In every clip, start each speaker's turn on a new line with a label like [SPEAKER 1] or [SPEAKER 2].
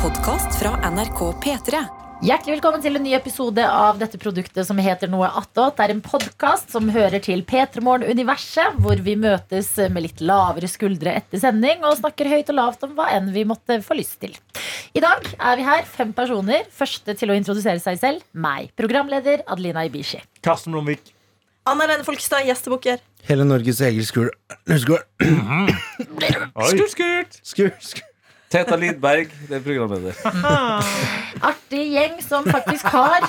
[SPEAKER 1] podkast fra NRK P3.
[SPEAKER 2] Hjertelig velkommen til en ny episode av dette produktet som heter Noe attåt. Det er en podkast som hører til P3morgen-universet, hvor vi møtes med litt lavere skuldre etter sending og snakker høyt og lavt om hva enn vi måtte få lyst til. I dag er vi her, fem personer. Første til å introdusere seg selv, meg, programleder Adelina Ibishi.
[SPEAKER 3] Karsten Blomvik.
[SPEAKER 4] Anna Lene Folkestad, gjestebukker.
[SPEAKER 5] Hele Norges egen skur... Skur...
[SPEAKER 3] Oi.
[SPEAKER 5] Skur... skur.
[SPEAKER 6] Teta Lidberg, det er programleder.
[SPEAKER 2] Artig gjeng som faktisk har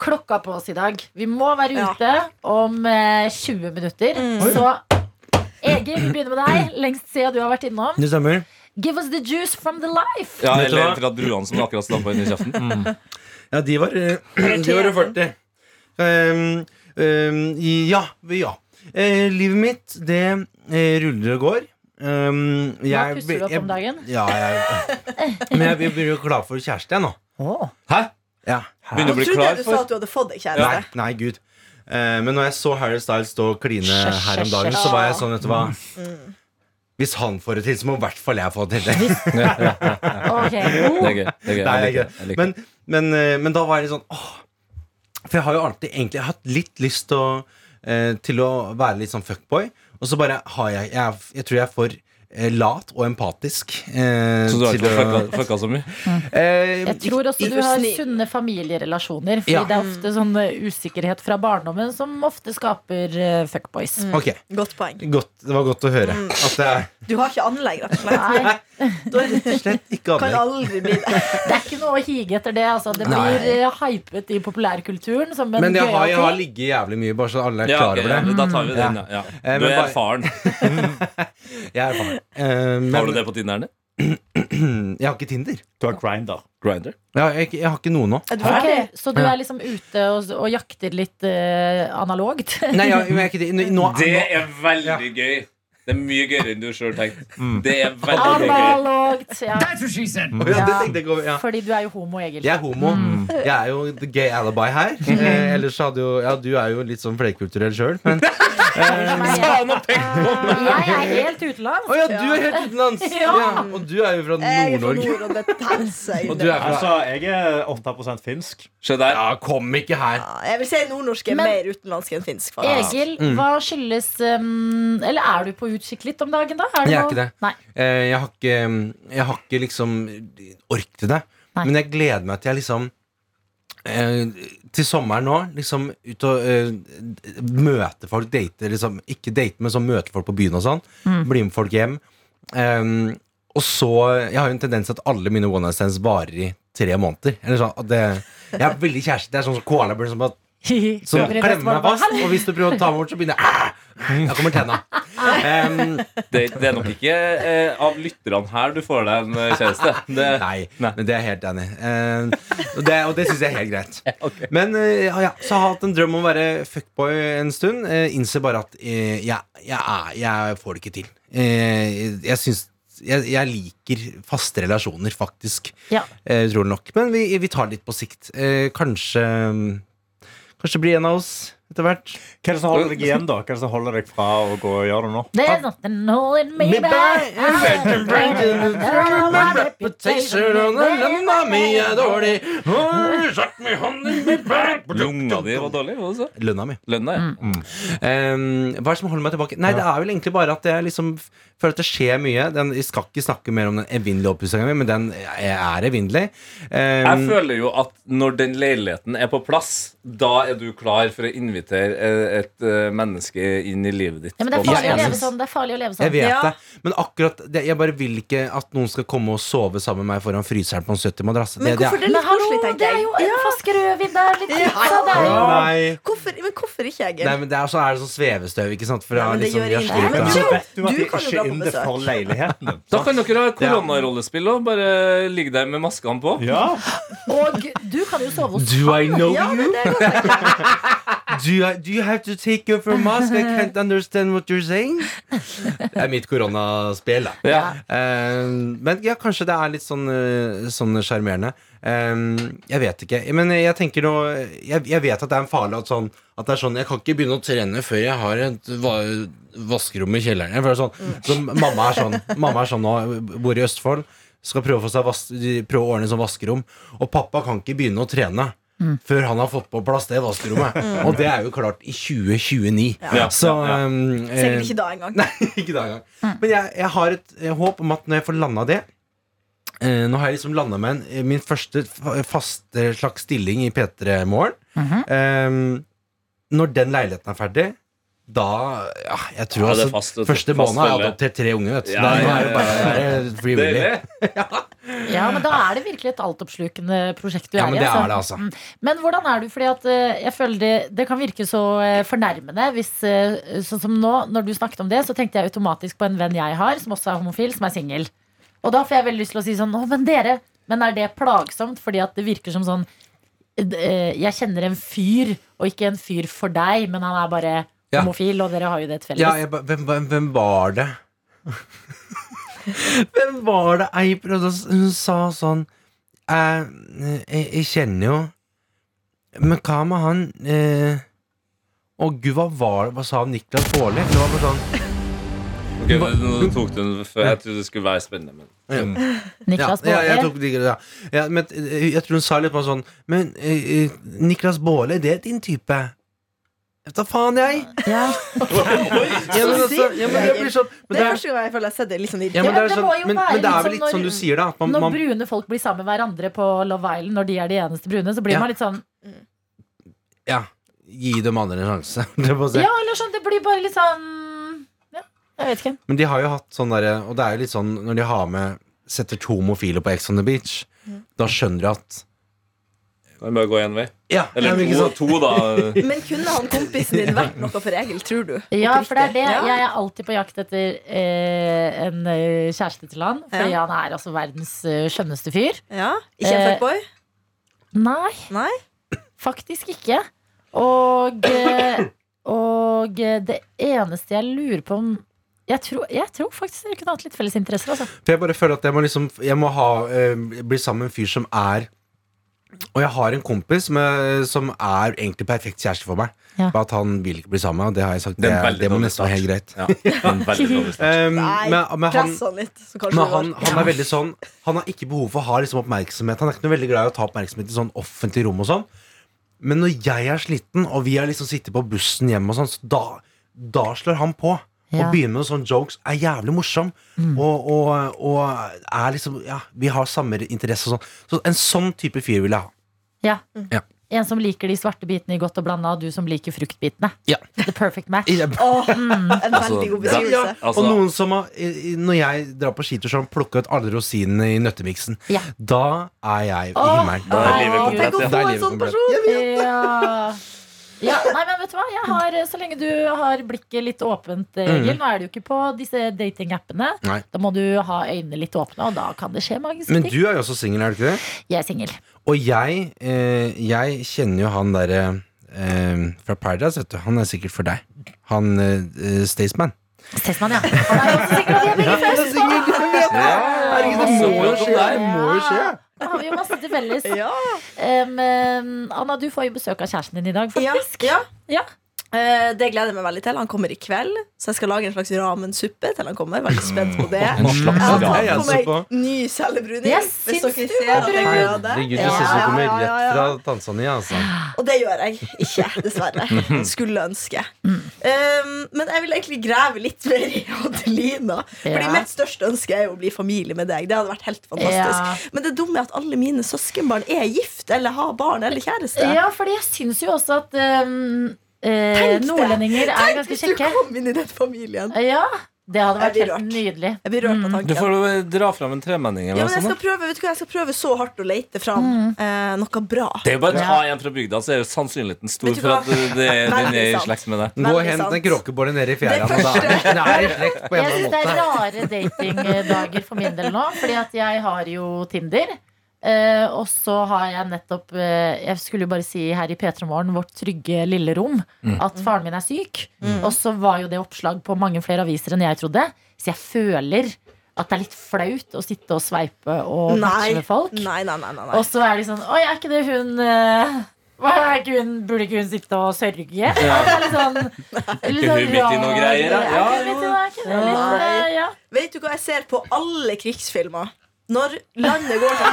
[SPEAKER 2] klokka på oss i dag. Vi må være
[SPEAKER 4] Ja.
[SPEAKER 2] ute om eh, 20 minutter, så Egil, vi begynner med deg. Lengst siden du har vært innom.
[SPEAKER 5] Det stemmer.
[SPEAKER 2] Give us the juice from the life.
[SPEAKER 6] Ja,
[SPEAKER 3] Vet du
[SPEAKER 6] eller
[SPEAKER 3] hva?
[SPEAKER 6] fra druene som akkurat stampa inn i kjeften.
[SPEAKER 5] Ja, de var eh, De var 40. Ehm, ehm, ja. ja. Eh, livet mitt, det eh, ruller og går. Ehm,
[SPEAKER 2] Hva pusser du opp om dagen?
[SPEAKER 5] Ja, jeg, men jeg begynner å bli klar for kjæreste, jeg nå.
[SPEAKER 6] Hæ?
[SPEAKER 5] Ja.
[SPEAKER 6] Begynner å bli
[SPEAKER 4] trodde
[SPEAKER 6] klar
[SPEAKER 4] du sa
[SPEAKER 6] for
[SPEAKER 4] at du hadde fått deg
[SPEAKER 5] Nei,
[SPEAKER 4] kjæreste.
[SPEAKER 5] nei, gud. Eh, men når jeg så Harry Styles stå og kline her om dagen, så var jeg sånn, vet du hva
[SPEAKER 2] Mm.
[SPEAKER 5] Hvis han får det til, så må i hvert fall jeg få det til.
[SPEAKER 2] Ok,
[SPEAKER 6] Det
[SPEAKER 2] god.
[SPEAKER 6] er gøy. Det er gøy.
[SPEAKER 5] Nei,
[SPEAKER 6] Jeg
[SPEAKER 5] jeg
[SPEAKER 6] liker
[SPEAKER 5] er ikke
[SPEAKER 6] det. Jeg
[SPEAKER 5] det.
[SPEAKER 6] liker det.
[SPEAKER 5] Men, men, eh, men da var jeg litt sånn åh. For jeg har jo alltid egentlig hatt litt lyst til å, eh, til å være litt sånn fuckboy. Og så bare har jeg Jeg, er- jeg tror jeg er for eh, lat og empatisk. Eh,
[SPEAKER 6] Så du har
[SPEAKER 5] til
[SPEAKER 6] ikke
[SPEAKER 5] å-
[SPEAKER 6] fucka, fucka så mye?
[SPEAKER 5] Eh,
[SPEAKER 2] Jeg tror også du har
[SPEAKER 4] Snill.
[SPEAKER 2] sunne familierelasjoner. Fordi
[SPEAKER 5] Ja.
[SPEAKER 2] det er ofte sånn eh, usikkerhet fra barndommen som ofte skaper eh, fuckboys.
[SPEAKER 5] Ok,
[SPEAKER 4] Godt poeng.
[SPEAKER 5] godt, det var godt å høre.
[SPEAKER 2] Mm.
[SPEAKER 5] At det er
[SPEAKER 4] Du har ikke anlegg, rett og slett.
[SPEAKER 2] Nei,
[SPEAKER 4] Du har rett og slett-
[SPEAKER 5] slett ikke
[SPEAKER 4] kan
[SPEAKER 5] annerledes.
[SPEAKER 4] aldri bli det.
[SPEAKER 2] det er ikke noe å hige etter det. Altså. Det
[SPEAKER 5] Nei.
[SPEAKER 2] blir eh, hypet i populærkulturen som en
[SPEAKER 5] Men jeg har, jeg har
[SPEAKER 2] gøyal ting.
[SPEAKER 5] ligget jævlig mye, bare så alle er
[SPEAKER 6] Ja,
[SPEAKER 5] klar
[SPEAKER 6] ok,
[SPEAKER 5] over
[SPEAKER 6] ja,
[SPEAKER 5] det.
[SPEAKER 6] men da tar vi den, ja. ja.
[SPEAKER 5] Eh,
[SPEAKER 6] Du
[SPEAKER 5] men
[SPEAKER 6] er
[SPEAKER 5] bare-
[SPEAKER 6] erfaren.
[SPEAKER 5] Jeg er erfaren. Eh, men
[SPEAKER 6] Har du det på Tinderne?
[SPEAKER 5] jeg har ikke Tinder.
[SPEAKER 3] Du har Grinder.
[SPEAKER 6] Grinder?
[SPEAKER 5] Jeg har, jeg, jeg har ikke noe nå.
[SPEAKER 4] Er du
[SPEAKER 2] Ok,
[SPEAKER 4] ferdig?
[SPEAKER 2] så du er liksom ute og, og jakter litt eh, analogt?
[SPEAKER 5] Nei, jeg, jeg er ikke det. Nå, nå,
[SPEAKER 6] Det er veldig gøy. Det er mye gøyere enn du sjøl tenkte. Det er veldig gøy.
[SPEAKER 2] Analogt, ja.
[SPEAKER 5] nå, ja, det tenkte jeg ikke over. Ja.
[SPEAKER 2] Fordi du er jo homo, Egil.
[SPEAKER 5] Jeg er homo.
[SPEAKER 4] Mm.
[SPEAKER 5] Jeg er jo the gay alibi her. Eh, ellers hadde jo Ja, du er jo litt sånn flerkulturell sjøl, men Å
[SPEAKER 2] Ah. Jeg er helt utenlands.
[SPEAKER 5] ja, du er helt utenlands!
[SPEAKER 2] Ja.
[SPEAKER 5] Ja, og du er jo fra
[SPEAKER 4] Jeg er fra
[SPEAKER 5] Nord-Norge.
[SPEAKER 4] nord, og det teller seg
[SPEAKER 5] Og du er fra
[SPEAKER 3] Altså, jeg er 8 finsk.
[SPEAKER 6] Se der.
[SPEAKER 5] Ja, kom ikke her.
[SPEAKER 4] Ja, Jeg vil si nordnorsk er
[SPEAKER 2] Men-
[SPEAKER 4] mer utenlandsk enn finsk.
[SPEAKER 5] Ah.
[SPEAKER 4] faktisk.
[SPEAKER 2] Egil,
[SPEAKER 5] Mm.
[SPEAKER 2] hva skyldes um, Eller er du på utkikk litt om dagen, da? Er
[SPEAKER 5] Jeg er
[SPEAKER 2] noe-
[SPEAKER 5] ikke det.
[SPEAKER 2] Nei.
[SPEAKER 5] Eh, Jeg har ikke, jeg har ikke liksom ork til det.
[SPEAKER 2] Nei.
[SPEAKER 5] Men jeg gleder meg til jeg liksom eh, til sommeren nå, liksom ut og eh, møte folk, date liksom, Ikke date, men sånn møte folk på byen og sånn.
[SPEAKER 2] Mm.
[SPEAKER 5] Bli med folk hjem. Eh, og så Jeg har jo en tendens til at alle mine one night stands varer i tre måneder. Eller sånn, at det, jeg er veldig kjæreste. Det er sånn som koalabjørn som, bare- som
[SPEAKER 2] Ja.
[SPEAKER 5] klemmer meg fast. Og hvis du prøver å ta meg bort, så begynner jeg Da kommer tenna. Um,
[SPEAKER 6] Det, det er nok ikke eh, av lytterne her du får deg en eh, kjæreste. Det,
[SPEAKER 5] Nei,
[SPEAKER 6] Nei.
[SPEAKER 5] men det er jeg helt enig i. Eh, og det, og det syns jeg er helt greit. Men eh, ja, ja, så har jeg hatt en drøm om å være fuckboy en stund. Eh, innser bare at eh, jeg, jeg, er- jeg får det ikke til. Eh, jeg syns jeg, jeg liker faste relasjoner, faktisk.
[SPEAKER 2] Ja.
[SPEAKER 5] Eh, utrolig nok. Men vi, vi tar det litt på sikt. Eh, kanskje Kanskje blir en av oss etter hvert.
[SPEAKER 3] Hva er det som holder deg igjen, da? Hva er det som holder deg fra å gå og gjøre det nå?
[SPEAKER 5] Ah.
[SPEAKER 2] There's nothing holding me back.
[SPEAKER 6] Lunga di var dårlig, var det så?
[SPEAKER 5] Lønna mi.
[SPEAKER 6] Lønna, ja.
[SPEAKER 5] Ehm, hva er det som holder meg tilbake? Nei, det er vel egentlig bare at jeg liksom f- føler at det skjer mye. Den, jeg skal ikke snakke mer om den evinnelige oppussinga mi, men den jeg er evinnelig. Ehm,
[SPEAKER 6] Jeg føler jo at når den leiligheten er på plass, da er du klar for å invitere eh, et eh, menneske inn i livet ditt.
[SPEAKER 2] Ja, men det er
[SPEAKER 6] på
[SPEAKER 2] farlig å
[SPEAKER 6] basis.
[SPEAKER 2] leve sånn. Det er farlig å leve
[SPEAKER 5] jeg
[SPEAKER 2] sånn.
[SPEAKER 5] vet
[SPEAKER 4] Ja.
[SPEAKER 5] det, men akkurat det, jeg bare vil ikke at noen skal komme og sove sammen med meg foran fryseren på en 70-madrass.
[SPEAKER 4] Men hvorfor det
[SPEAKER 2] Men
[SPEAKER 4] er litt
[SPEAKER 2] hallo,
[SPEAKER 4] koselig,
[SPEAKER 2] det
[SPEAKER 4] tenker
[SPEAKER 2] er jo
[SPEAKER 4] jeg.
[SPEAKER 2] en flaske rødvin der, litt
[SPEAKER 4] Ja.
[SPEAKER 2] pizza der.
[SPEAKER 5] Nei,
[SPEAKER 4] Hvorfor, men hvorfor ikke, Egil?
[SPEAKER 5] nei, men det er, så er det sånn svevestøv, ikke sant? Fra,
[SPEAKER 4] Nei, men det
[SPEAKER 5] liksom,
[SPEAKER 4] gjør
[SPEAKER 5] vi har
[SPEAKER 4] ingenting.
[SPEAKER 5] slitt
[SPEAKER 4] Men
[SPEAKER 5] av-
[SPEAKER 4] du-
[SPEAKER 3] vet du at de
[SPEAKER 4] du kan jo
[SPEAKER 3] ikke
[SPEAKER 4] dra på
[SPEAKER 3] er inne
[SPEAKER 4] besøk.
[SPEAKER 3] for leiligheten din.
[SPEAKER 6] Da kan dere ha koronarollespill og bare ligge der med maskene på.
[SPEAKER 3] Ja,
[SPEAKER 2] Og du kan jo sove hos
[SPEAKER 5] Do I know
[SPEAKER 4] Ja,
[SPEAKER 5] you?
[SPEAKER 4] men det er godt, tenker jeg.
[SPEAKER 5] Do, I, do you have to take off your mask? I can't understand what you're saying. Det er mitt koronaspill, da.
[SPEAKER 6] Ja.
[SPEAKER 5] Eh, men ja, kanskje det er litt sånn eh, Sånn sjarmerende. Eh, jeg vet ikke. Men jeg tenker nå Jeg, jeg vet at det er en farlig at, sånn, at det er sånn Jeg kan ikke begynne å trene før jeg har et va vaskerom i kjelleren. Jeg føler sånn, så mamma er sånn Mamma er sånn nå, bor i Østfold. Skal prøve å, få seg vas prøve å ordne sånn vaskerom. Og pappa kan ikke begynne å trene
[SPEAKER 6] Mm.
[SPEAKER 5] før han har fått på plass det vaskerommet. Og det er jo klart i 2029.
[SPEAKER 6] Ja.
[SPEAKER 5] Så
[SPEAKER 6] Ja, ja.
[SPEAKER 5] um, eh,
[SPEAKER 4] Sikkert ikke da engang.
[SPEAKER 5] Nei, ikke da engang. Men jeg, jeg har et eh, håp om at når jeg får landa det eh, Nå har jeg liksom landa med en, eh, min første fa- faste slags stilling i P3 Morgen. Ehm, når den leiligheten er ferdig, da ja, Jeg tror
[SPEAKER 6] Ja, det er
[SPEAKER 5] altså,
[SPEAKER 6] fast, vet du.
[SPEAKER 5] Første
[SPEAKER 6] Fast
[SPEAKER 5] måned har jeg
[SPEAKER 6] følge.
[SPEAKER 5] adoptert tre unge, vet du.
[SPEAKER 6] Ja,
[SPEAKER 5] Da er det
[SPEAKER 6] ja,
[SPEAKER 5] bare
[SPEAKER 6] ja, ja.
[SPEAKER 5] det er frivillig.
[SPEAKER 6] Deilig.
[SPEAKER 2] Ja, men da er det virkelig et altoppslukende prosjekt du
[SPEAKER 5] Ja,
[SPEAKER 2] er
[SPEAKER 5] men
[SPEAKER 2] i.
[SPEAKER 5] det er det,
[SPEAKER 2] altså.
[SPEAKER 5] altså.
[SPEAKER 2] Men hvordan er du? Fordi at eh, jeg føler det, det kan virke så eh, fornærmende hvis eh, Sånn som nå, når du snakket om det, så tenkte jeg automatisk på en venn jeg har, som også er homofil, som er singel. Og da får jeg veldig lyst til å si sånn Å, men dere! Men er det plagsomt? Fordi at det virker som sånn eh, Jeg kjenner en fyr, og ikke en fyr for deg, men han er bare
[SPEAKER 5] Ja.
[SPEAKER 2] homofil, og dere har jo det til felles.
[SPEAKER 5] Ja, jeg, ba- hvem, hvem, hvem var det? hvem var det ei prøvde å s- Hun sa sånn jeg, jeg, jeg kjenner jo Men hva med han eh, Å gud, hva var det? Hva sa Niklas Baarli? Det var bare sånn
[SPEAKER 6] Ok, nå tok du den før jeg trodde det skulle være spennende. Men.
[SPEAKER 2] Niklas
[SPEAKER 5] ja,
[SPEAKER 2] Baarli.
[SPEAKER 5] ja, jeg, tok, de- ja. Ja, men, eh, jeg tror hun sa litt på sånn Men eh, eh, Niklas Baarli, det er din type. Vet da faen, jeg!
[SPEAKER 2] Ja.
[SPEAKER 5] Ja, men, altså, ja, men, jeg blir sånn,
[SPEAKER 4] Det
[SPEAKER 5] men det
[SPEAKER 4] er
[SPEAKER 5] er
[SPEAKER 4] første gang jeg føler jeg har sett det litt sånn
[SPEAKER 5] Ja,
[SPEAKER 2] Ja, men det
[SPEAKER 4] irriterende.
[SPEAKER 5] men, det er sånn,
[SPEAKER 2] må jo
[SPEAKER 5] men,
[SPEAKER 2] være
[SPEAKER 5] men det er vel
[SPEAKER 2] litt
[SPEAKER 5] litt
[SPEAKER 2] sånn
[SPEAKER 5] sånn du
[SPEAKER 2] når-
[SPEAKER 5] sier det. At man,
[SPEAKER 2] Når
[SPEAKER 5] man,
[SPEAKER 2] brune folk blir sammen med hverandre på Love Island, når de er de eneste brune, så blir
[SPEAKER 5] Ja.
[SPEAKER 2] man litt sånn
[SPEAKER 5] ja, gi dem andre en sjanse. holdt jeg på å si.
[SPEAKER 2] Ja, eller sånn, det blir bare litt sånn Ja, jeg vet ikke.
[SPEAKER 5] Men de har jo hatt sånn derre Og det er jo litt sånn når de har med setter to homofile på Ex on the Beach,
[SPEAKER 2] Mm.
[SPEAKER 5] da skjønner de at
[SPEAKER 6] Da må jeg gå én vei.
[SPEAKER 5] Ja, ja,
[SPEAKER 6] Eller
[SPEAKER 5] men ikke
[SPEAKER 6] to,
[SPEAKER 5] sant?
[SPEAKER 6] to, da.
[SPEAKER 4] Men kunne han kompisen din vært noe for Egil, tror du?
[SPEAKER 2] Ja, for det er det.
[SPEAKER 4] Ja.
[SPEAKER 2] Jeg er alltid på jakt etter eh, en eh, kjæreste til han. Fordi
[SPEAKER 4] Ja.
[SPEAKER 2] han er altså verdens eh, skjønneste fyr.
[SPEAKER 4] Ja? Ikke en
[SPEAKER 2] Eh,
[SPEAKER 4] fuckboy?
[SPEAKER 2] Nei,
[SPEAKER 4] Nei?
[SPEAKER 2] faktisk ikke. Og, eh, og eh, det eneste jeg lurer på om jeg tror, jeg tror faktisk dere kunne hatt litt felles interesser. Altså.
[SPEAKER 5] For jeg bare føler at jeg må liksom Jeg må ha, eh, bli sammen med en fyr som er Og jeg har en kompis med, som er egentlig perfekt kjæreste for meg.
[SPEAKER 2] Ja.
[SPEAKER 5] Bare at han vil ikke bli sammen med meg, og det har jeg sagt.
[SPEAKER 6] Det
[SPEAKER 5] Det,
[SPEAKER 6] er en veldig
[SPEAKER 5] det må
[SPEAKER 6] dårlig
[SPEAKER 5] nesten være helt greit.
[SPEAKER 6] Ja, det er en veldig dårlig start.
[SPEAKER 5] Um,
[SPEAKER 4] Nei,
[SPEAKER 5] men, men han,
[SPEAKER 4] press han litt. Så kanskje
[SPEAKER 5] Men
[SPEAKER 4] det
[SPEAKER 5] han,
[SPEAKER 4] går.
[SPEAKER 5] han er veldig sånn Han har ikke behov for å ha liksom oppmerksomhet. Han er ikke noe veldig glad i å ta oppmerksomhet i sånn offentlig rom og sånn. Men når jeg er sliten, og vi har liksom sittet på bussen hjem og sånn, så da, da slår han på.
[SPEAKER 2] Ja. Mm.
[SPEAKER 5] Og begynner med noen sånne jokes. Er jævlig morsom. Og, og, og er liksom Ja, vi har samme interesse og sånn. Så en sånn type fyr vil jeg ha.
[SPEAKER 2] Ja.
[SPEAKER 4] Mm.
[SPEAKER 5] Ja.
[SPEAKER 2] En som liker de svarte bitene i godt og blanda, og du som liker fruktbitene.
[SPEAKER 5] Ja.
[SPEAKER 2] The perfect match.
[SPEAKER 5] I-
[SPEAKER 4] Åh, en veldig god
[SPEAKER 6] Altså,
[SPEAKER 5] Ja,
[SPEAKER 4] beskrivelse.
[SPEAKER 6] Altså-
[SPEAKER 5] og noen som har i- i- Når jeg drar på skitur, så har han plukka ut alle rosinene i nøttemiksen.
[SPEAKER 2] Ja.
[SPEAKER 5] Da er jeg i
[SPEAKER 2] Åh,
[SPEAKER 5] himmelen.
[SPEAKER 6] Da er livet
[SPEAKER 2] Herregud.
[SPEAKER 6] komplett.
[SPEAKER 4] Tenk å
[SPEAKER 6] ja.
[SPEAKER 5] Det
[SPEAKER 4] få
[SPEAKER 5] er
[SPEAKER 4] en
[SPEAKER 5] livet
[SPEAKER 4] sånn
[SPEAKER 5] komplett.
[SPEAKER 4] person!
[SPEAKER 2] Ja. ja. Nei, men vet du hva? Jeg har, så lenge du har blikket litt åpent,
[SPEAKER 4] Mm.
[SPEAKER 2] Egil Nå er det jo ikke på disse datingappene.
[SPEAKER 5] Nei.
[SPEAKER 2] Da må du ha øynene litt åpne, og da kan det skje magiske
[SPEAKER 5] Men
[SPEAKER 2] ting.
[SPEAKER 5] du er jo også singel, er du ikke det?
[SPEAKER 2] Jeg er singel.
[SPEAKER 5] Og jeg, eh, jeg kjenner jo han derre eh, fra Paradise, vet du. Han er sikkert for deg. Han eh, Staysman.
[SPEAKER 2] Staysman, ja. Han er jo også singel, og vi er begge fra Østfold.
[SPEAKER 5] Herregud, det må jo skje! Det må jo skje.
[SPEAKER 2] Da har vi jo masse til felles.
[SPEAKER 4] Ja.
[SPEAKER 2] Em, em, Anna, du får jo besøk av kjæresten din i dag,
[SPEAKER 4] Ja.
[SPEAKER 2] faktisk.
[SPEAKER 4] ja.
[SPEAKER 2] Ja.
[SPEAKER 4] Eh, det gleder jeg meg veldig til. Han kommer i kveld, så jeg skal lage en slags ramensuppe til han kommer. Veldig spent på det.
[SPEAKER 5] En slags
[SPEAKER 4] Jeg har tatt
[SPEAKER 5] ramen.
[SPEAKER 4] på
[SPEAKER 5] altså på.
[SPEAKER 4] meg ny cellebruning.
[SPEAKER 2] Jeg
[SPEAKER 4] hvis
[SPEAKER 2] syns
[SPEAKER 4] dere
[SPEAKER 2] du var
[SPEAKER 4] ser at jeg
[SPEAKER 2] brun.
[SPEAKER 4] gjør det.
[SPEAKER 5] Herregud,
[SPEAKER 4] Ja,
[SPEAKER 5] det ser ut som du
[SPEAKER 4] ja,
[SPEAKER 5] kommer
[SPEAKER 4] ja,
[SPEAKER 5] rett
[SPEAKER 4] ja.
[SPEAKER 5] fra Tanzania, altså.
[SPEAKER 4] Og det gjør jeg ikke, dessverre.
[SPEAKER 5] Mm.
[SPEAKER 4] Skulle ønske.
[SPEAKER 2] Mm.
[SPEAKER 4] Um, men jeg vil egentlig grave litt mer i Adelina. Fordi
[SPEAKER 2] Ja.
[SPEAKER 4] mitt største ønske er jo å bli familie med deg. Det hadde vært helt fantastisk.
[SPEAKER 2] Ja.
[SPEAKER 4] Men det dumme er at alle mine søskenbarn er gift eller har barn eller kjæreste.
[SPEAKER 2] Ja, fordi jeg syns jo også at em, eh,
[SPEAKER 4] Tenk det.
[SPEAKER 2] nordlendinger er ganske
[SPEAKER 4] Hvis du
[SPEAKER 2] kjekke.
[SPEAKER 4] kom inn i den familien.
[SPEAKER 2] Ja, det hadde vært
[SPEAKER 4] Jeg
[SPEAKER 2] helt
[SPEAKER 4] blir rørt.
[SPEAKER 2] nydelig.
[SPEAKER 4] Jeg blir rørt av
[SPEAKER 6] Du
[SPEAKER 4] tanken.
[SPEAKER 6] får jo dra fram en tremenning
[SPEAKER 4] Ja,
[SPEAKER 6] eller
[SPEAKER 4] men jeg,
[SPEAKER 6] noe
[SPEAKER 4] skal
[SPEAKER 6] sånt. da.
[SPEAKER 4] prøve, vet du hva, jeg skal prøve så hardt å lete fram
[SPEAKER 2] Mm.
[SPEAKER 4] eh, noe bra.
[SPEAKER 6] Det er jo bare å ta
[SPEAKER 2] Ja.
[SPEAKER 6] en fra bygda, så er jo sannsynligheten stor
[SPEAKER 4] Vet du
[SPEAKER 6] for at
[SPEAKER 4] hva?
[SPEAKER 6] det, den er i
[SPEAKER 4] Veldig sant.
[SPEAKER 6] slekt med deg.
[SPEAKER 5] Gå og
[SPEAKER 4] Veldig
[SPEAKER 5] hent en
[SPEAKER 4] sant.
[SPEAKER 5] kråkebolle nede i fjæra.
[SPEAKER 4] Det
[SPEAKER 5] og Da
[SPEAKER 4] første.
[SPEAKER 5] det er i slekt på
[SPEAKER 2] Jeg
[SPEAKER 5] en eller
[SPEAKER 2] syns det er
[SPEAKER 5] annen måte.
[SPEAKER 2] rare datingdager for min del nå, fordi at jeg har jo Tinder. eh, og så har jeg nettopp eh, Jeg skulle jo bare si her i P3 Morgen, vårt trygge lille rom,
[SPEAKER 5] Mm.
[SPEAKER 2] at faren min er syk. Og så var jo det oppslag på mange flere aviser enn jeg trodde. Så jeg føler at det er litt flaut å sitte og sveipe og matche
[SPEAKER 4] Nei.
[SPEAKER 2] med folk.
[SPEAKER 4] Nei, nei, nei, nei, nei.
[SPEAKER 2] Og så er de sånn Oi, er ikke det hun eh, hva er ikke hun, Burde ikke hun sitte og sørge? Ja. Det er litt sånn, litt
[SPEAKER 6] ikke hun
[SPEAKER 2] sånn
[SPEAKER 6] midt i noe
[SPEAKER 2] rar-
[SPEAKER 6] greier, da?
[SPEAKER 2] Er ikke hun midt i noe? Er ikke det litt, eh, ja.
[SPEAKER 4] Vet du hva jeg ser på alle krigsfilmer? Når landet går til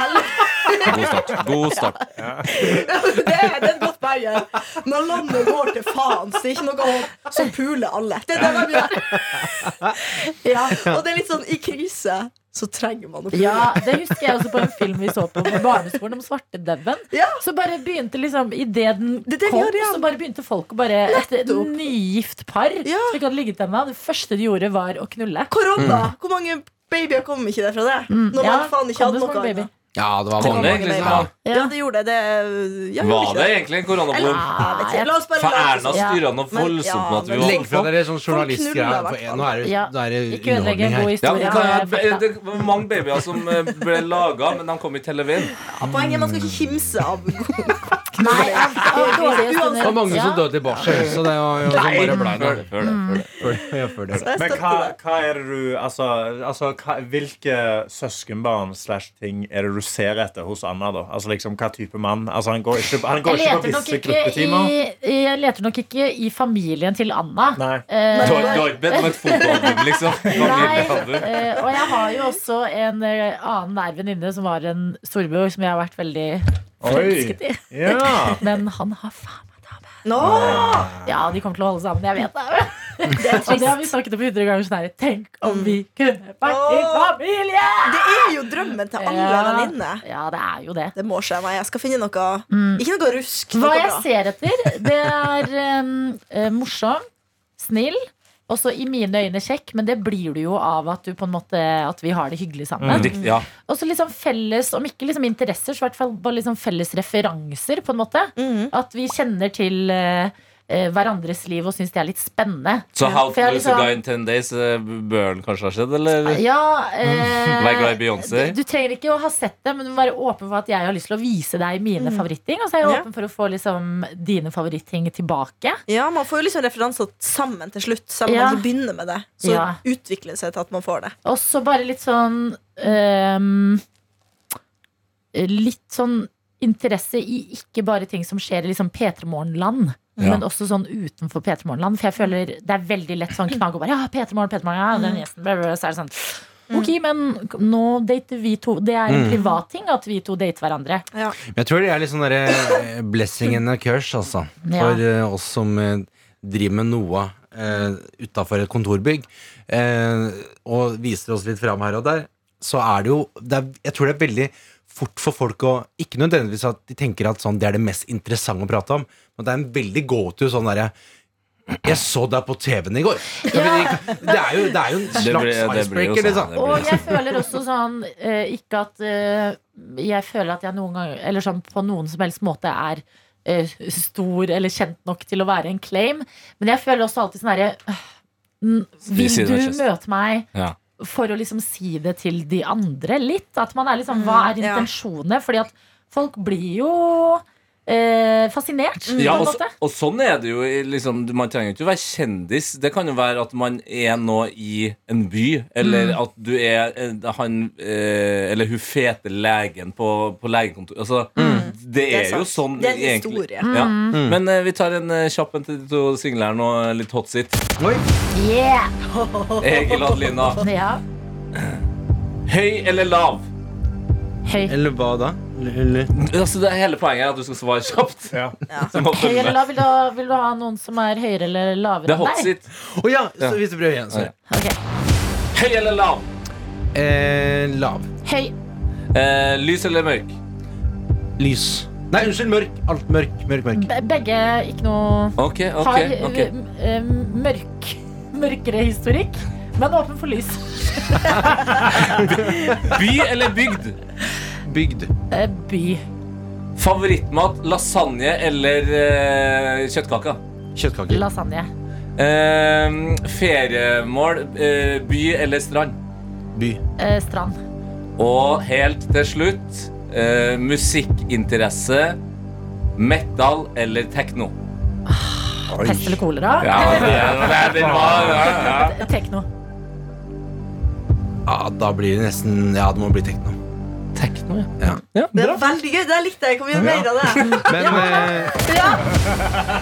[SPEAKER 7] God
[SPEAKER 4] helvete
[SPEAKER 7] start. God start.
[SPEAKER 4] det, er- det er et godt poeng. Når landet går til faen, så er det ikke noe å- som puler alle. Det er det de gjør. Ja, og det er litt sånn i krise så trenger man å pule.
[SPEAKER 2] Ja, Det husker jeg også på en film vi så på på barneskolen om svartedauden.
[SPEAKER 4] Ja.
[SPEAKER 2] Så bare begynte liksom Idet den
[SPEAKER 4] Det er det vi
[SPEAKER 2] kom,
[SPEAKER 4] gjør igjen.
[SPEAKER 2] så bare begynte folk å bare Et
[SPEAKER 4] Nettopp.
[SPEAKER 2] nygift par
[SPEAKER 4] Ja.
[SPEAKER 2] som ikke hadde ligget ennå, det første de gjorde, var å knulle.
[SPEAKER 4] Korona. Hvor mange babyer kom ikke det fra det? Når
[SPEAKER 2] Mm. Ja,
[SPEAKER 4] man faen ikke
[SPEAKER 2] kom
[SPEAKER 4] hadde
[SPEAKER 2] det så
[SPEAKER 4] noe
[SPEAKER 2] mange babyer?
[SPEAKER 4] annet.
[SPEAKER 5] Ja, det var
[SPEAKER 6] Kom
[SPEAKER 5] mange.
[SPEAKER 6] det egentlig
[SPEAKER 4] Ja.
[SPEAKER 6] sånn?
[SPEAKER 4] Ja, det gjorde det. det ja,
[SPEAKER 6] Var
[SPEAKER 4] gjorde
[SPEAKER 6] det
[SPEAKER 4] ikke
[SPEAKER 6] egentlig
[SPEAKER 4] Eller,
[SPEAKER 6] en koronabom?
[SPEAKER 4] jeg vet ikke. La oss bare
[SPEAKER 6] For
[SPEAKER 4] la det
[SPEAKER 6] Erna altså.
[SPEAKER 4] sånn.
[SPEAKER 2] Ja.
[SPEAKER 6] styra noe
[SPEAKER 4] Men-
[SPEAKER 6] voldsomt
[SPEAKER 4] ja,
[SPEAKER 6] med at vi
[SPEAKER 4] men-
[SPEAKER 6] var
[SPEAKER 5] Legg fra dere
[SPEAKER 4] knuller,
[SPEAKER 5] sånn journalistgreier.
[SPEAKER 4] i hvert
[SPEAKER 5] for
[SPEAKER 4] fall.
[SPEAKER 5] Nå er det,
[SPEAKER 2] Ja.
[SPEAKER 5] nå er det
[SPEAKER 2] Ikke ødelegg en god
[SPEAKER 5] underholdning her.
[SPEAKER 6] ja, men
[SPEAKER 2] historie.
[SPEAKER 6] det,
[SPEAKER 2] Ja,
[SPEAKER 6] det var mange babyer som eh, ble laga, men de kom ikke hele veien.
[SPEAKER 4] Ja, Poenget er man skal ikke kimse av
[SPEAKER 2] Nei, jeg, jeg, dårlige stunder.
[SPEAKER 5] Det var mange som
[SPEAKER 2] Ja.
[SPEAKER 5] døde i barsel, så det var jo bare blei
[SPEAKER 6] Før det, før det, før
[SPEAKER 4] Mm.
[SPEAKER 6] det.
[SPEAKER 5] noe.
[SPEAKER 4] Så jeg
[SPEAKER 3] Men hva,
[SPEAKER 4] støtter det.
[SPEAKER 3] hva er det du Altså, altså hva, hvilke søskenbarn slash ting er det du ser etter hos Anna, da? Altså liksom, Hva type mann? Altså, Han går ikke, han går
[SPEAKER 2] Jeg
[SPEAKER 3] ikke på
[SPEAKER 2] leter, nok
[SPEAKER 3] visse
[SPEAKER 2] ikke
[SPEAKER 3] gruppetimer.
[SPEAKER 2] i, jeg leter nok ikke i familien til Anna.
[SPEAKER 3] Nei.
[SPEAKER 2] Eh,
[SPEAKER 6] Du har du har ikke bedt om et fotoalbum, liksom?
[SPEAKER 2] Nei,
[SPEAKER 6] Familiealbum.
[SPEAKER 2] eh, og jeg har jo også en eh, annen nær venninne som var en storbror, som jeg har vært veldig forelsket i.
[SPEAKER 3] Ja.
[SPEAKER 2] Men han har faen meg dame.
[SPEAKER 4] Nå!
[SPEAKER 2] Ja, de kommer til å holde sammen, jeg vet det. Og det har vi snakket om hundre ganger. Sånn her, Tenk om vi kunne vært i
[SPEAKER 4] Åh.
[SPEAKER 2] familie!
[SPEAKER 4] Det er jo drømmen til alle
[SPEAKER 2] Ja.
[SPEAKER 4] venninner.
[SPEAKER 2] Ja, det er jo det.
[SPEAKER 4] Det må skje meg. Jeg skal finne noe Ikke noe rusk.
[SPEAKER 2] Mm. Hva
[SPEAKER 4] noe
[SPEAKER 2] jeg
[SPEAKER 4] bra.
[SPEAKER 2] ser etter, det er um, eh, morsom, snill, også i mine øyne kjekk, men det blir du jo av at, du på en måte, at vi har det hyggelig sammen.
[SPEAKER 6] Riktig, ja.
[SPEAKER 2] Og så liksom felles, om ikke liksom interesser, så i hvert fall bare liksom felles referanser, på en måte. At vi kjenner til eh, eh, hverandres liv og syns det er litt spennende.
[SPEAKER 6] Så How
[SPEAKER 2] For
[SPEAKER 6] to
[SPEAKER 2] jeg
[SPEAKER 4] liksom-
[SPEAKER 6] Lose a Guy in 10 Days eh, bør den kanskje ha skjedd, eller?
[SPEAKER 2] Ja, eh,
[SPEAKER 6] Mm. Vær glad i Beyoncé.
[SPEAKER 2] Du, du trenger ikke å ha sett det, men du må være åpen for at jeg har lyst til å vise deg mine favoritting. Og så er jeg
[SPEAKER 4] Ja.
[SPEAKER 2] åpen for å få liksom, dine favoritting tilbake.
[SPEAKER 4] Ja, Man får jo liksom referanser sammen til slutt. Selv om
[SPEAKER 2] Ja.
[SPEAKER 4] man ikke begynner med det, så
[SPEAKER 2] Ja.
[SPEAKER 4] utvikler det seg til at man får det.
[SPEAKER 2] Og så bare litt sånn ehm, Litt sånn interesse i ikke bare ting som skjer i liksom P3 Morgen-land.
[SPEAKER 6] Ja.
[SPEAKER 2] Men også sånn utenfor P3 Morgen-land. For jeg føler det er veldig lett sånn knagg og bare Ja, P3 Morgen, P3 Morgen, ja, den gjesten bla, bla, bla, Så er det sånn Ok, men nå dater vi to. Det er en privat ting at vi to dater hverandre.
[SPEAKER 5] Men Jeg tror det er litt sånn derre eh, blessing in a curse, altså.
[SPEAKER 2] Ja.
[SPEAKER 5] For eh, oss som eh, driver med noe uh, utafor et kontorbygg, eh, og viser oss litt fram her og der, så er det jo det er, Jeg tror det er veldig fort for folk å Ikke nødvendigvis at de tenker at sånn, det er det mest interessante å prate om, men det er en veldig go-to sånn derre jeg så deg på TV-en i går! Det er jo, det er jo en
[SPEAKER 6] Det blir-
[SPEAKER 5] slags
[SPEAKER 6] det blir jo
[SPEAKER 5] icebreaker,
[SPEAKER 6] sånn,
[SPEAKER 5] liksom.
[SPEAKER 6] det blir
[SPEAKER 2] Og
[SPEAKER 6] jo
[SPEAKER 2] jeg føler også sånn eh, Ikke at eh, jeg føler at jeg noen ganger Eller sånn på noen som helst måte er eh, stor eller kjent nok til å være en claim. Men jeg føler også alltid sånn herre øh, Vil
[SPEAKER 6] sier det
[SPEAKER 2] du
[SPEAKER 6] med kjeft.
[SPEAKER 2] møte meg?
[SPEAKER 6] Ja.
[SPEAKER 2] For å liksom si det til de andre litt. At man er liksom Hva er
[SPEAKER 4] ja.
[SPEAKER 2] intensjonene? Fordi at folk blir jo eh, fascinert,
[SPEAKER 6] Ja,
[SPEAKER 2] på en
[SPEAKER 6] og,
[SPEAKER 2] måte.
[SPEAKER 6] så- og sånn er det jo. i- Liksom, man trenger ikke å være kjendis. Det kan jo være at man er nå i en by, eller at du er eh, han eh, eller hun fete legen på, på legekontoret. Altså, Det er,
[SPEAKER 4] Det er
[SPEAKER 6] jo
[SPEAKER 4] sant.
[SPEAKER 6] sånn
[SPEAKER 4] Det er en
[SPEAKER 6] egentlig-
[SPEAKER 4] historie.
[SPEAKER 6] Ja. Men eh, vi tar en eh, kjapp en til de to singlerne og eh, litt hot sit.
[SPEAKER 2] Yeah!
[SPEAKER 6] Egil Adelina.
[SPEAKER 2] Ja.
[SPEAKER 6] Høy eller lav?
[SPEAKER 2] Høy.
[SPEAKER 5] Eller hva da?
[SPEAKER 6] Altså, det er hele poenget er at du skal svare kjapt.
[SPEAKER 3] Ja.
[SPEAKER 6] Så må
[SPEAKER 2] Høy
[SPEAKER 6] følge
[SPEAKER 2] eller
[SPEAKER 6] med.
[SPEAKER 2] lav? Vil du, ha, vil du ha noen som er høyere eller
[SPEAKER 6] Det
[SPEAKER 2] lavere
[SPEAKER 6] er hot
[SPEAKER 2] enn deg?
[SPEAKER 6] sit.
[SPEAKER 5] Å ja! Så hvis du prøver igjen, sorry.
[SPEAKER 2] Ok.
[SPEAKER 6] Høy eller lav?
[SPEAKER 5] Eh, lav.
[SPEAKER 2] Høy.
[SPEAKER 6] Eh, lys eller mørk?
[SPEAKER 5] Lys. Nei, unnskyld, mørk. Alt mørk, mørk, mørk.
[SPEAKER 2] Be- Begge ikke noe
[SPEAKER 6] Ok, ok,
[SPEAKER 2] har
[SPEAKER 6] ok.
[SPEAKER 2] m- m- mørk, mørkere historikk, men åpen for lys.
[SPEAKER 6] By eller bygd?
[SPEAKER 5] Bygd.
[SPEAKER 2] Eh, By.
[SPEAKER 6] Favorittmat, lasagne eller eh, kjøttkaker?
[SPEAKER 5] Kjøttkaker.
[SPEAKER 2] Lasagne.
[SPEAKER 6] Eh, feriemål, eh, by eller strand?
[SPEAKER 5] By.
[SPEAKER 2] Eh, Strand.
[SPEAKER 6] Og helt til slutt, eh, musikkinteresse, metal eller tekno?
[SPEAKER 2] Pest eller kolera. Eh,
[SPEAKER 6] Ja, det, det, det var ja, ja.
[SPEAKER 2] Tekno.
[SPEAKER 5] Ja, da blir det nesten Ja, det må bli tekno.
[SPEAKER 6] Ja.
[SPEAKER 5] Ja.
[SPEAKER 4] Det er veldig gøy. Det her likte jeg. Kom igjen, mer av det.
[SPEAKER 5] Men, eh,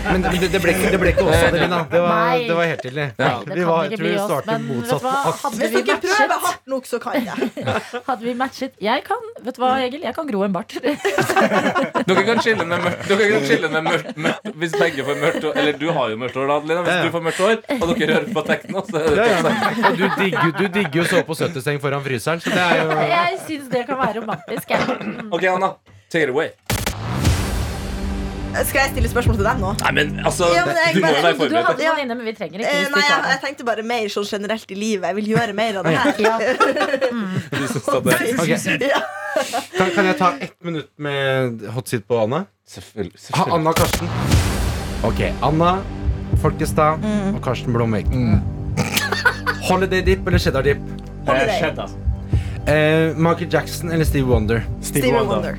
[SPEAKER 5] men det, det, ble, ikke- det ble ikke oss, Adelina. Det var,
[SPEAKER 2] Nei.
[SPEAKER 5] det var helt ille.
[SPEAKER 2] Nei, det
[SPEAKER 5] Vi
[SPEAKER 2] kan
[SPEAKER 5] var,
[SPEAKER 2] ikke
[SPEAKER 5] jeg tror
[SPEAKER 2] bli
[SPEAKER 5] vi
[SPEAKER 2] oss,
[SPEAKER 5] startet
[SPEAKER 2] men vet
[SPEAKER 5] motsatt
[SPEAKER 2] du hva?
[SPEAKER 5] på akt.
[SPEAKER 2] Hadde
[SPEAKER 4] Hvis
[SPEAKER 2] vi
[SPEAKER 4] dere prøver
[SPEAKER 2] matchet,
[SPEAKER 4] hardt nok, så kan jeg.
[SPEAKER 2] hadde vi matchet Jeg kan, vet du hva, Egil? Jeg kan gro en bart.
[SPEAKER 6] Dere kan chille med mørkt, dere kan chille med mørkt, mørkt hvis begge får mørkt hår. Eller du har jo mørkt hår, da, Adelina. Hvis
[SPEAKER 5] Ja, ja.
[SPEAKER 6] du får mørkt hår, og dere hører på tekno, så er det
[SPEAKER 5] Ja, ja. Og du digger, du digger jo så på 70-seng foran fryseren, så det er jo
[SPEAKER 2] Jeg syns det kan være romantisk. Jeg.
[SPEAKER 6] OK, Anna. Take it away.
[SPEAKER 4] Skal jeg stille spørsmål til deg nå?
[SPEAKER 6] Nei, men altså
[SPEAKER 4] Ja, men jeg
[SPEAKER 6] Du må
[SPEAKER 4] bare-
[SPEAKER 6] jo være
[SPEAKER 2] Du
[SPEAKER 6] forberedt.
[SPEAKER 2] hadde noen inne, men vi trenger ikke.
[SPEAKER 4] Eh,
[SPEAKER 2] hvis du
[SPEAKER 4] nei,
[SPEAKER 2] ikke
[SPEAKER 4] jeg,
[SPEAKER 2] har
[SPEAKER 4] jeg
[SPEAKER 2] det.
[SPEAKER 4] tenkte bare mer sånn generelt i livet. Jeg vil gjøre mer av det her.
[SPEAKER 2] Ja.
[SPEAKER 6] Du synes at det-
[SPEAKER 5] Ok.
[SPEAKER 4] Ja.
[SPEAKER 5] kan, kan jeg ta ett minutt med hot seat på Anna?
[SPEAKER 6] Selvfølgelig.
[SPEAKER 5] Ha,
[SPEAKER 6] selvfølgelig.
[SPEAKER 5] Anna og Karsten. Ok, Anna Folkestad
[SPEAKER 2] Mm.
[SPEAKER 5] og Karsten Blomvik. Holiday dip eller cheddar dip?
[SPEAKER 4] Hold i
[SPEAKER 3] Eh,
[SPEAKER 4] deg.
[SPEAKER 3] Cheddar.
[SPEAKER 5] Eh, Michael Jackson eller Steve Wonder?
[SPEAKER 3] Stevie
[SPEAKER 4] Stevie
[SPEAKER 3] Wonder.
[SPEAKER 4] Wonder.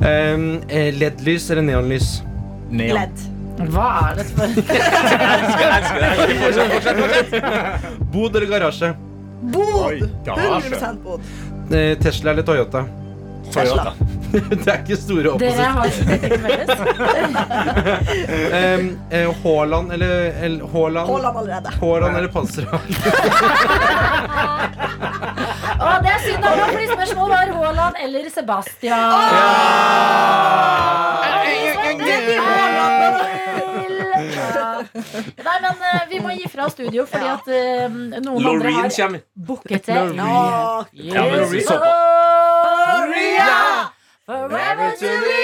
[SPEAKER 5] Eh, eh, LED-lys eller neonlys?
[SPEAKER 3] Neon.
[SPEAKER 4] Ledd.
[SPEAKER 2] Hva er det for
[SPEAKER 5] Bod eller garasje?
[SPEAKER 3] Oi,
[SPEAKER 4] Bod!
[SPEAKER 3] garasje.
[SPEAKER 4] 100 bod.
[SPEAKER 5] Eh, Tesla eller Toyota?
[SPEAKER 3] Toyota.
[SPEAKER 5] det er ikke store
[SPEAKER 2] Dere
[SPEAKER 5] opposisjoner.
[SPEAKER 2] har ikke til felles.
[SPEAKER 5] Eh, eh, Haaland eller, eller Haaland?
[SPEAKER 4] Hold ham allerede.
[SPEAKER 5] Haaland eller Panserhagen?
[SPEAKER 2] Å, det er synd, Anna, fordi spørsmålet var Haaland eller Sebastian. Ja. Nei, men eh, vi må gi fra studio, fordi at eh, noen andre
[SPEAKER 6] Loreen
[SPEAKER 2] har
[SPEAKER 6] kommer.
[SPEAKER 2] booket det.
[SPEAKER 4] Ja.
[SPEAKER 6] Ja, men Loreen-
[SPEAKER 2] Yes, Gloria, forever to the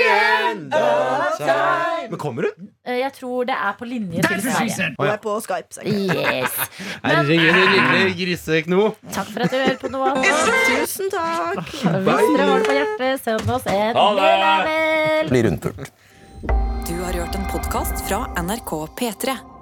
[SPEAKER 2] end of time.
[SPEAKER 5] Men kommer hun?
[SPEAKER 2] Eh, Jeg tror det er på linje til Sverige.
[SPEAKER 4] Hun er på Skype. sikkert.
[SPEAKER 2] Yes.
[SPEAKER 5] Herregud, din lille grisekno.
[SPEAKER 2] Takk for at du hører på noe annet.
[SPEAKER 4] Tusen takk.
[SPEAKER 2] Hvis dere har det på hjertet, send oss en
[SPEAKER 6] Ha det.
[SPEAKER 2] mail.
[SPEAKER 1] Du har hørt en podkast fra NRK P3.